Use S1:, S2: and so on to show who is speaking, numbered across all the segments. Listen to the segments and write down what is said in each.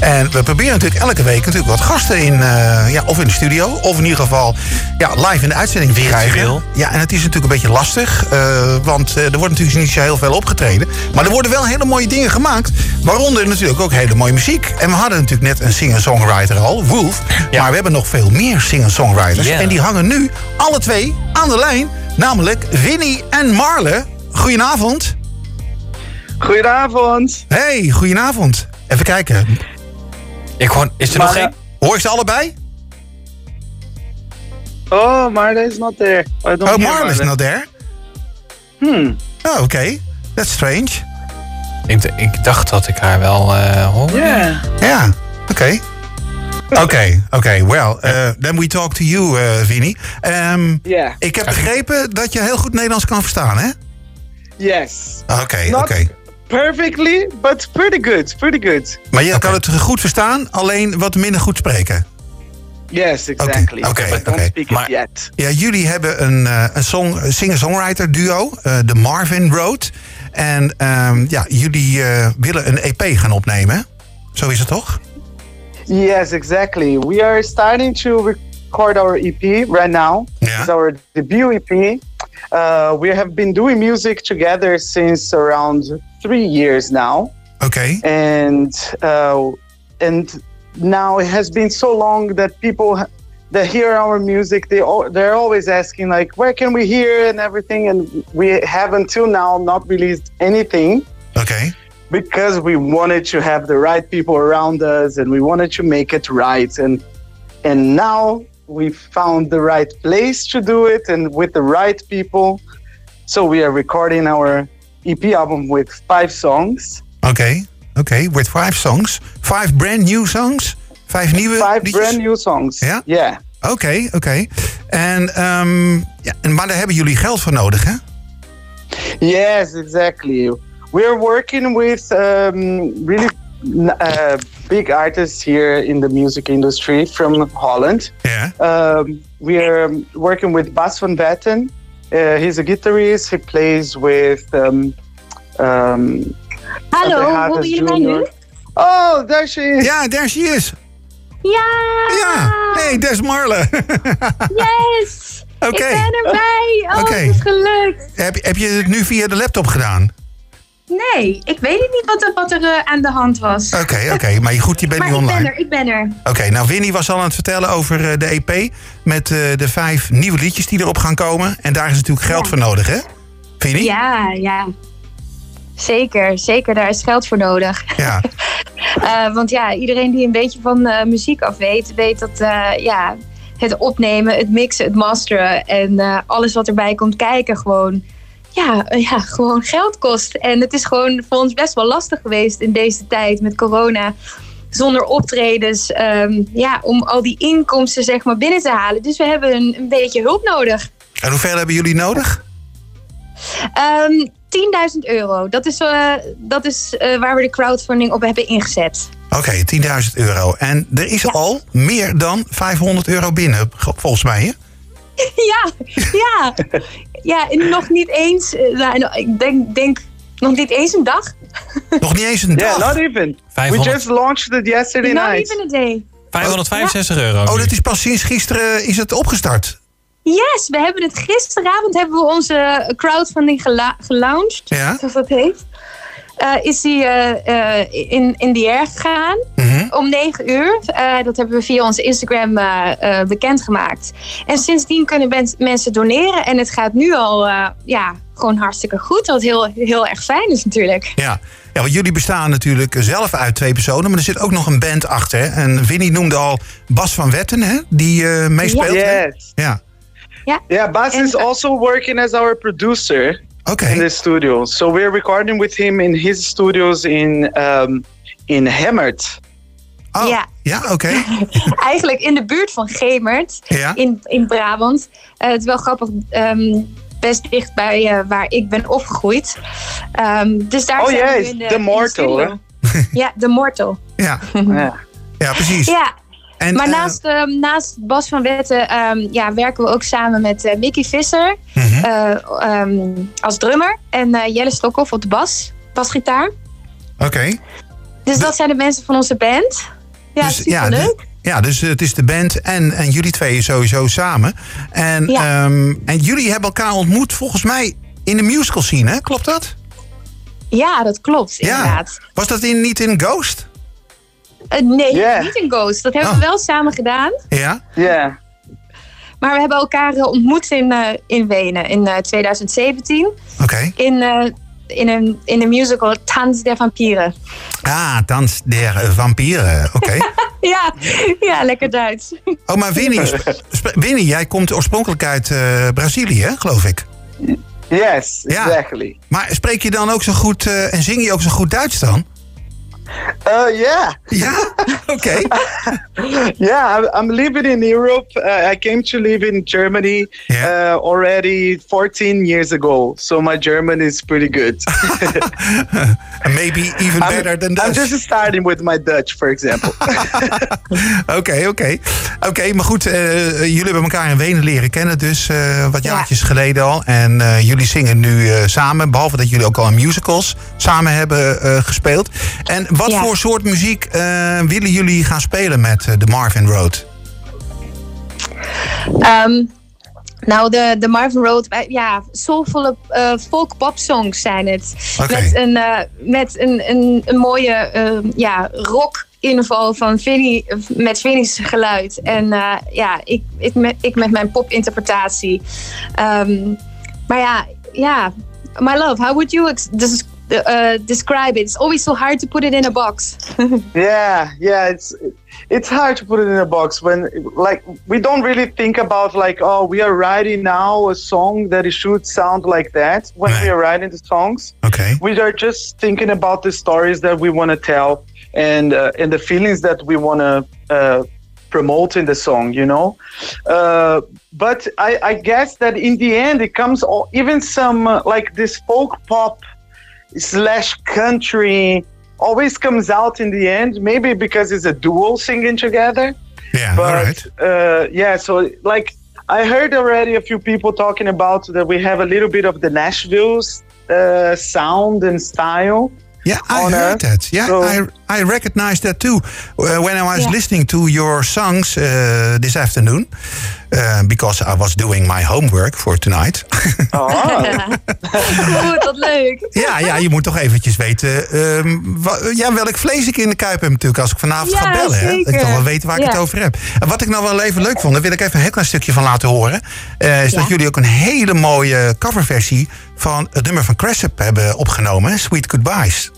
S1: En we proberen natuurlijk elke week natuurlijk wat gasten in, eh, ja, of in de studio, of in ieder geval ja, live in de uitzending te krijgen.
S2: Virtueel.
S1: Ja, en het is natuurlijk een beetje lastig, eh, want eh, er wordt natuurlijk niet zo heel veel opgetreden. Maar er worden wel hele mooie dingen gemaakt, waaronder natuurlijk ook hele mooie muziek. En we hadden natuurlijk net een singer-songwriter al, Wolf, maar we hebben nog veel meer singer-songwriters.
S2: Ja.
S1: En die hangen nu alle twee aan de lijn, namelijk Winnie en Marle. Goedenavond.
S3: Goedenavond.
S1: Hey, goedenavond. Even kijken.
S2: Ik hoor, is er
S3: Maar,
S2: nog
S3: eh,
S2: één?
S1: Hoor ik ze allebei?
S3: Oh, Marle is not there. I don't
S1: Oh,
S3: hear
S1: Marle is
S3: Marle.
S1: not there.
S3: Hmm.
S1: Oh, oké. That's strange. eh,
S2: Ik, d- ik dacht dat ik haar wel eh hoor.
S3: Yeah.
S1: Ja, oké. Oké, oké. Well, eh, then we talk to you, eh Vinnie. Ehm,
S3: Yeah.
S1: ik heb begrepen dat je heel goed Nederlands kan verstaan, hè?
S3: Yes.
S1: Oké, oké.
S3: Not perfectly, but pretty good. Pretty good.
S1: Maar je kan het goed verstaan, alleen wat minder goed spreken.
S3: Yes, exactly.
S1: oké,
S3: I don't
S1: oké.
S3: speak
S2: Maar-
S3: it yet.
S1: Ja, jullie hebben een, eh, een, song, een singer-songwriter duo, eh, de Marvin Road. En ehm, ja, jullie eh, willen een EP gaan opnemen. hè? Zo is het toch?
S3: Yes, exactly. We are starting to record our EP right now.
S1: Yeah.
S3: It's our debut EP. Uh, we have been doing music together since around three years now.
S1: Oké.
S3: and uh, and now it has been so long that people ha- that hear our music they al- they're always asking like where can we hear and everything and we have until now not released anything
S1: Oké.
S3: because we wanted to have the right people around us and we wanted to make it right and and now we found the right place to do it and with the right people so we are recording our EP album with five songs
S1: Oké, oké. With five songs. Five brand new songs. Vijf nieuwe
S3: five
S1: liedjes?
S3: brand new songs
S1: Yeah?
S3: yeah
S1: Oké, oké. En, ehm, ja, en- maar daar hebben jullie geld voor nodig, hè?
S3: Yes, exactly. We're working with um, really uh, big artists here in the music industry from Holland.
S1: Ja.
S3: Um, we are working with Bas van Vetten. Uh, he's a guitarist. He plays with. Um, um,
S4: Hallo,
S3: Andre Hages
S4: horen jullie mij
S3: Jr..
S4: nu?
S3: Oh, daar she is.
S1: Ja, daar she is.
S4: Ja!
S1: Ja. Hey, Des Marle.
S4: Yes!
S1: Oké.
S4: Ik ben erbij! Oh,
S1: Oké.
S4: het is gelukt!
S1: heb, heb je het nu via de laptop gedaan?
S4: Nee, ik weet het niet wat er, wat er eh, aan de hand was.
S1: Oké, oké. Maar je- goed, je bent
S4: maar
S1: nu
S4: ik ben
S1: online.
S4: er, ik ben er.
S1: Oké, nou Winnie was al aan het vertellen over eh, de EP. Met eh, de vijf nieuwe liedjes die erop gaan komen. En daar is natuurlijk geld
S4: Ja.
S1: voor nodig, hè? Winnie?
S4: Ja, ja. Zeker, zeker. Daar is geld voor nodig.
S1: Ja,
S4: Eh, want ja, iedereen die een beetje van eh, muziek af weet, weet dat eh, ja, het opnemen, het mixen, het masteren en eh, alles wat erbij komt kijken gewoon, ja, eh, ja, gewoon geld kost. En het is gewoon voor ons best wel lastig geweest in deze tijd met corona. Zonder optredens, ehm, ja, om al die inkomsten zeg maar binnen te halen. Dus we hebben een, een beetje hulp nodig.
S1: En hoeveel hebben jullie nodig?
S4: Ehm 10.000 euro, dat is, eh, dat is eh, waar we de crowdfunding op hebben ingezet.
S1: Oké, 10.000 euro. En er is al meer dan 500 euro binnen, ge- volgens mij. Hè?
S4: Ja, ja. Ja, en nog niet eens, eh, nou, en ik denk, denk nog niet eens een dag.
S1: Nog niet eens een
S3: Yeah,
S1: dag.
S3: not even. We
S2: 500
S3: just launched it yesterday
S4: Not
S3: night.
S4: Nou, even a day.
S2: 565 euro.
S1: Oh,
S2: nu.
S1: dat is pas sinds gisteren eh, is het opgestart.
S4: Yes, we hebben het gisteravond hebben we onze crowdfunding gela- gelaunched,
S1: Ja.
S4: zoals dat heet. Eh, is die eh, eh, in, in de air gegaan
S1: Mhm.
S4: om 9 uur. Eh, dat hebben we via onze Instagram eh, eh, bekendgemaakt. En sindsdien kunnen mens- mensen doneren. En het gaat nu al eh, ja, gewoon hartstikke goed. Wat heel, heel erg fijn is natuurlijk.
S1: Ja. ja, want jullie bestaan natuurlijk zelf uit twee personen, maar er zit ook nog een band achter. hè? En Winnie noemde al Bas van Wetten, hè? die eh, meespeelt. hè?
S3: Yes.
S1: Ja,
S3: Yeah, Bas
S4: And-
S3: is also working as our producer.
S1: oké.
S3: in the studio. So we're recording with him in his studios in um, in Hemmert.
S1: Oh,
S4: Ja.
S1: ja oké.
S4: eigenlijk in de buurt van Gemert
S1: Ja.
S4: in, in Brabant. Eh, het is wel grappig, ehm, best dicht bij eh, waar ik ben opgegroeid. Ehm, dus daar
S3: Oh,
S4: zijn we
S3: ja,
S4: nu
S3: is
S4: in
S3: de
S4: in
S3: Mortel,
S4: studio. ja, de Mortel.
S1: Ja.
S3: Yeah.
S1: ja, precies.
S4: Ja,
S1: Dus En,
S4: maar
S1: eh,
S4: naast, ehm, naast Bas van Wetten ehm, ja, werken we ook samen met eh, Mickey Visser
S1: mhm.
S4: eh, ehm, als drummer en eh, Jelle Stokhoff op de bas, basgitaar.
S1: Oké,
S4: Dus dat zijn de mensen van onze band. Ja,
S1: Dus, ja,
S4: superleuk.
S1: dus, ja, dus het is de band en, en jullie twee sowieso samen. En,
S4: Ja.
S1: ehm, en jullie hebben elkaar ontmoet volgens mij in de musical scene, hè? Klopt dat?
S4: Ja, dat klopt, inderdaad.
S1: Ja. Was dat in, niet in Ghost?
S4: Eh, nee,
S3: Ja.
S4: niet in Ghost. Dat hebben we
S1: Oh.
S4: wel samen gedaan.
S1: Ja.
S3: Yeah.
S4: Maar we hebben elkaar eh, ontmoet in, eh, in Wenen in eh, 2017.
S1: Oké.
S4: In, eh, in, een, in de musical Tans der Vampieren.
S1: Ah, Dans der eh, Vampieren. Oké.
S4: Ja, ja lekker Duits.
S1: Oh, maar Winnie, sp- sp- Winnie, jij komt oorspronkelijk uit eh, Brazilië, hè, geloof ik.
S3: Yes,
S1: Yeah.
S3: exactly.
S1: Maar spreek je dan ook zo goed eh, en zing je ook zo goed Duits dan?
S3: Uh, yeah,
S1: Ja? Oké.
S3: yeah. I'm, I'm living in Europe. Uh, I came to live in Germany
S1: Yeah.
S3: uh, already 14 years ago, so my German is pretty good.
S1: Maybe even
S3: I'm-
S1: better than
S3: I'm
S1: Dutch.
S3: just starting with my Dutch, for example.
S1: Oké, oké. Oké, maar goed, eh, jullie hebben elkaar in Wenen leren kennen, dus eh, wat
S4: Ja.
S1: jaartjes geleden al. En eh, jullie zingen nu eh, samen, behalve dat jullie ook al in musicals samen hebben eh, gespeeld. En wat
S4: Ja.
S1: voor soort muziek eh, willen jullie gaan spelen met eh, de Marvin Road?
S4: Ehm, nou, de, de Marvin Road, wij- ja, soulvolle eh folk pop songs zijn het.
S1: Oké.
S4: Met, een, eh, met een, een, een mooie ehm, ja, rock inval van Vinnie, met Vinnie's geluid. En eh, ja, ik, ik, met, ik met mijn popinterpretatie. Ehm, maar ja, ja, my love, how would you ex- des- eh, describe it? It's always so hard to put it in a box.
S3: yeah yeah it's it's hard to put it in a box when like we don't really think about like oh we are writing now a song that it should sound like that when
S1: Right.
S3: we are writing the songs
S1: Oké.
S3: we are just thinking about the stories that we want to tell and uh, and the feelings that we want to uh, promote in the song you know uh, but I, I guess that in the end it comes all, even some uh, like this folk pop slash country always comes out in the end maybe because it's a duo singing together
S1: Ja,
S3: but
S1: alright.
S3: uh, yeah so like i heard already a few people talking about that we have a little bit of the nashville's uh, sound and style
S1: Yeah, I
S3: honor.
S1: heard that. Yeah,
S3: So-
S1: I I recognize that too. Uh, when I was
S4: Yeah.
S1: listening to your songs uh, this afternoon, uh, because I was doing my homework for tonight.
S4: Ah.
S3: oh
S4: Goed, wat leuk.
S1: ja, ja, je moet toch eventjes weten ehm, wa- ja, welk vlees ik in de kuip heb natuurlijk als ik vanavond
S4: Ja,
S1: ga bellen. Hè? Dat ik
S4: zeker.
S1: toch wel weet waar ik
S4: Ja.
S1: het over heb. En wat ik nou wel even leuk vond, daar wil ik even een heel klein stukje van laten horen. eh, is dat
S4: Ja.
S1: jullie ook een hele mooie coverversie van het nummer van Cressip hebben opgenomen. hè? Sweet Goodbyes.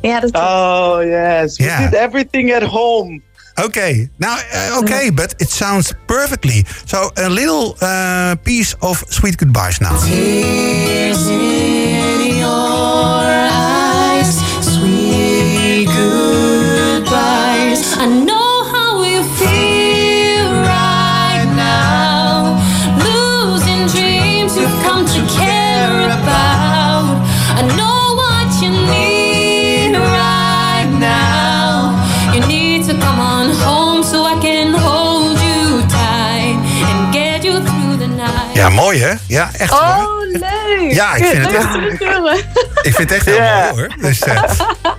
S4: Ja, dat klopt.
S3: oh yes we
S1: Yeah.
S3: did everything at home
S1: Oké, nou eh, oké, but it sounds perfectly. So a little eh, piece of Sweet Goodbyes now.
S5: Tears in your eyes, sweet goodbyes. I know how you feel right now. Losing dreams you've come to care about. I know what you need right now. You need to come on home so I can hold you tight and get you through the night.
S1: Ja, mooi hè? Ja, echt mooi.
S4: Oh, leuk.
S1: Ja, ik vind het
S4: Leuk
S1: echt-
S4: om te horen.
S1: Ik vind het echt heel
S3: Ja.
S1: mooi hoor. Dus, eh,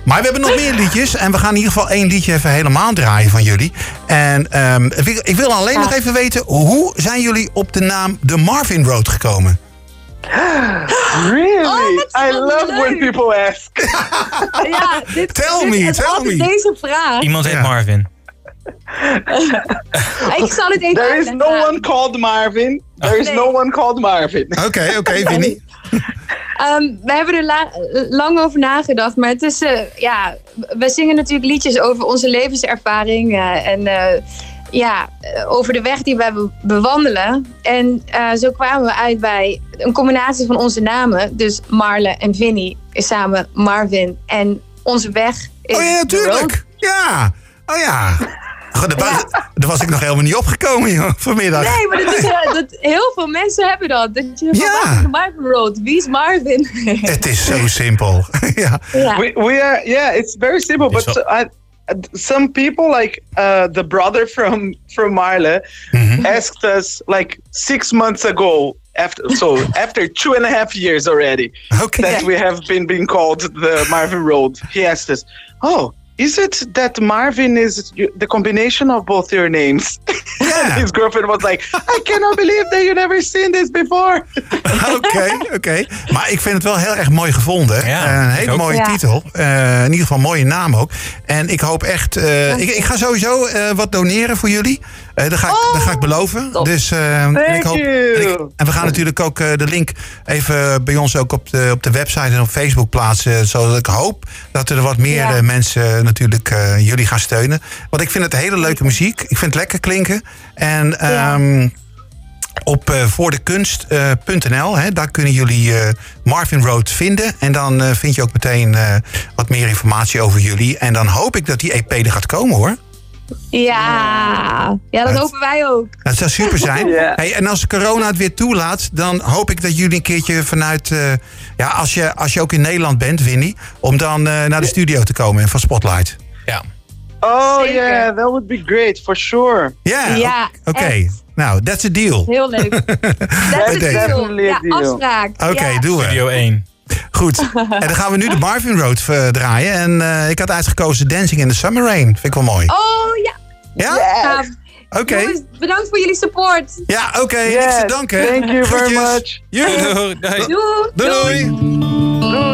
S1: maar we hebben nog meer liedjes. En we gaan in ieder geval één liedje even helemaal draaien van jullie. En ehm, ik wil- ik wil alleen nog even weten, hoe zijn jullie op de naam de Marvin Road gekomen?
S3: really
S4: Oh, that's
S3: i
S4: so
S3: love when
S4: nice.
S3: people ask
S4: Ja, dit,
S1: Tell
S4: dit
S1: me,
S4: is
S1: tell
S4: altijd
S1: me.
S4: deze vraag.
S2: Iemand heet
S1: Ja.
S2: Marvin.
S4: Ik zal het even
S3: There is no
S4: uitleggen.
S3: one called Marvin. There is no one called Marvin.
S1: Oké, oké, Winnie.
S4: Ehm, we hebben er la- lang over nagedacht. Maar het is, eh, ja, we zingen natuurlijk liedjes over onze levenservaring. eh, en eh, ja, eh, over de weg die wij be- bewandelen. En eh, zo kwamen we uit bij een combinatie van onze namen. Dus Marle en Vinnie is samen Marvin. En onze weg is
S1: Oh ja,
S4: de road.
S1: natuurlijk. Ja. Oh ja. Goed, daar, was, daar was ik nog helemaal niet opgekomen joh, vanmiddag.
S4: Nee, maar dat is, eh, dat, heel veel mensen hebben dat. Dat je
S1: Ja.
S4: van waar is de Marvin Road? Wie is Marvin?
S1: Het is zo simpel. ja.
S4: ja.
S3: We, we are yeah. It's very simple, but
S2: It's
S3: I, some people like uh, the brother from from Marla
S1: Mhm.
S3: asked us like six months ago. After so after two and a half years already
S1: Oké.
S3: that we have been being called the Marvin Road, he asked us, "Oh, Is it that Marvin is you- the combination of both your names?
S1: Yeah.
S3: His girlfriend was like, I cannot believe that you never seen this before.
S1: Oké, Ah, oké. Maar ik vind het wel heel erg mooi gevonden. Eh,
S2: Ja,
S1: een
S2: ik
S1: hele
S2: ook.
S1: mooie
S4: Ja.
S1: titel. Eh, in ieder geval een mooie naam ook. En ik hoop echt... eh, ik, ik ga sowieso eh, wat doneren voor jullie. Eh, dat, ga ik, dat ga ik beloven.
S4: Oh, top.
S1: Dus, eh, en, ik hoop,
S3: you.
S1: en, ik- en we gaan natuurlijk ook eh, de link even bij ons ook op de, op de website en op Facebook plaatsen. Zodat ik hoop dat er wat meer
S4: Ja.
S1: eh, mensen natuurlijk eh, jullie gaan steunen. Want ik vind het hele leuke muziek. Ik vind het lekker klinken. En...
S4: Ja.
S1: ehm, op eh, voordekunst.nl. hè, daar kunnen jullie eh, Marvin Road vinden. En dan eh, vind je ook meteen eh, wat meer informatie over jullie. En dan hoop ik dat die EP er gaat komen hoor.
S4: Ja, ja dat
S1: Het-
S4: hopen wij ook.
S1: Dat zou super zijn.
S3: Ja.
S1: Hey, en als corona het weer toelaat, dan hoop ik dat jullie een keertje vanuit. eh, ja, als je, als je ook in Nederland bent, Winnie. Om dan eh, naar de studio te komen en van Spotlight.
S2: Ja.
S3: Oh,
S4: Zeker.
S3: yeah, that would be great for sure.
S1: Ja,
S4: Ja,
S1: o- oké.
S4: echt.
S1: Nou, that's a deal.
S4: Heel leuk. Dat is
S1: Oké.
S4: het deal.
S3: Definitely a
S4: Ja,
S3: deal.
S4: afspraak.
S1: Oké, dus-
S4: ja.
S1: doen we.
S2: Studio 1.
S1: Goed. En dan gaan we nu de Marvin Road eh, draaien. En eh, ik had uitgekozen Dancing in the Summer Rain. Vind ik wel mooi.
S4: Oh ja,
S1: ja?
S4: gaaf.
S1: Oké.
S4: Jongens, bedankt voor jullie support.
S1: Ja, oké. Niks te
S3: Yes,
S1: danken.
S3: thank you very
S1: Groetjes.
S3: much.
S1: Joe.
S2: Doei.
S4: Doei.
S1: Doei. doei.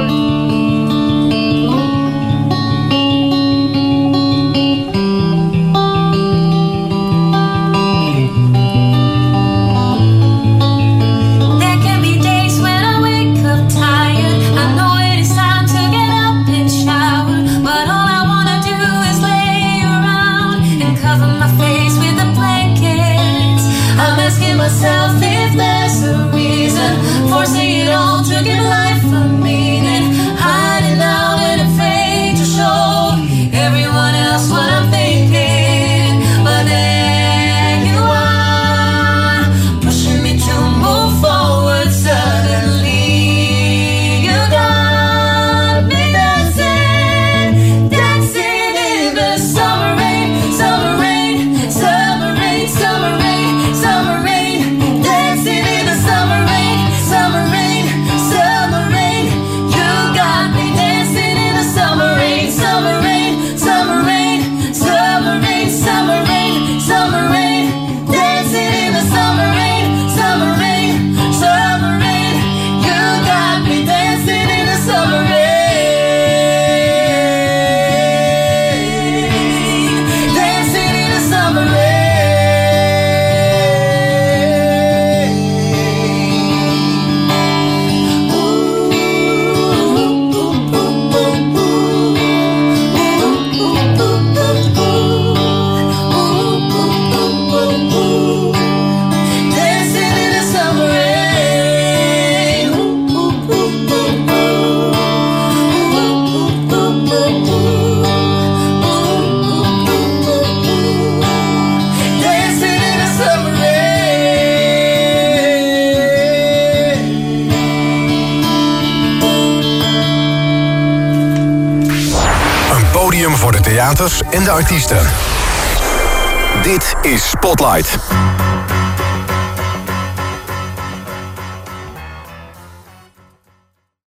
S5: There can be days when I wake up tired. I know it is time to get up and shower, but all I wanna do is lay around and cover my face with a blanket. I'm asking myself if there's a reason, forcing it all to give life a meaning, hiding out and afraid to show everyone else what I'm thinking. But there you are, pushing me to move forward suddenly. You got me dancing, dancing in the summer rain, summer rain, summer rain, summer rain, summer rain, dancing in the summer rain, summer rain, summer rain. You got me dancing in the summer rain, summer rain, summer rain, summer rain, summer rain, summer rain, dancing in the summer rain, summer rain, summer rain. You got me dancing in the summer rain, dancing in the summer rain. Dancing in the summer rain. Dancing in the summer rain.
S6: Een podium voor de theaters en de artiesten. Dit is Spotlight.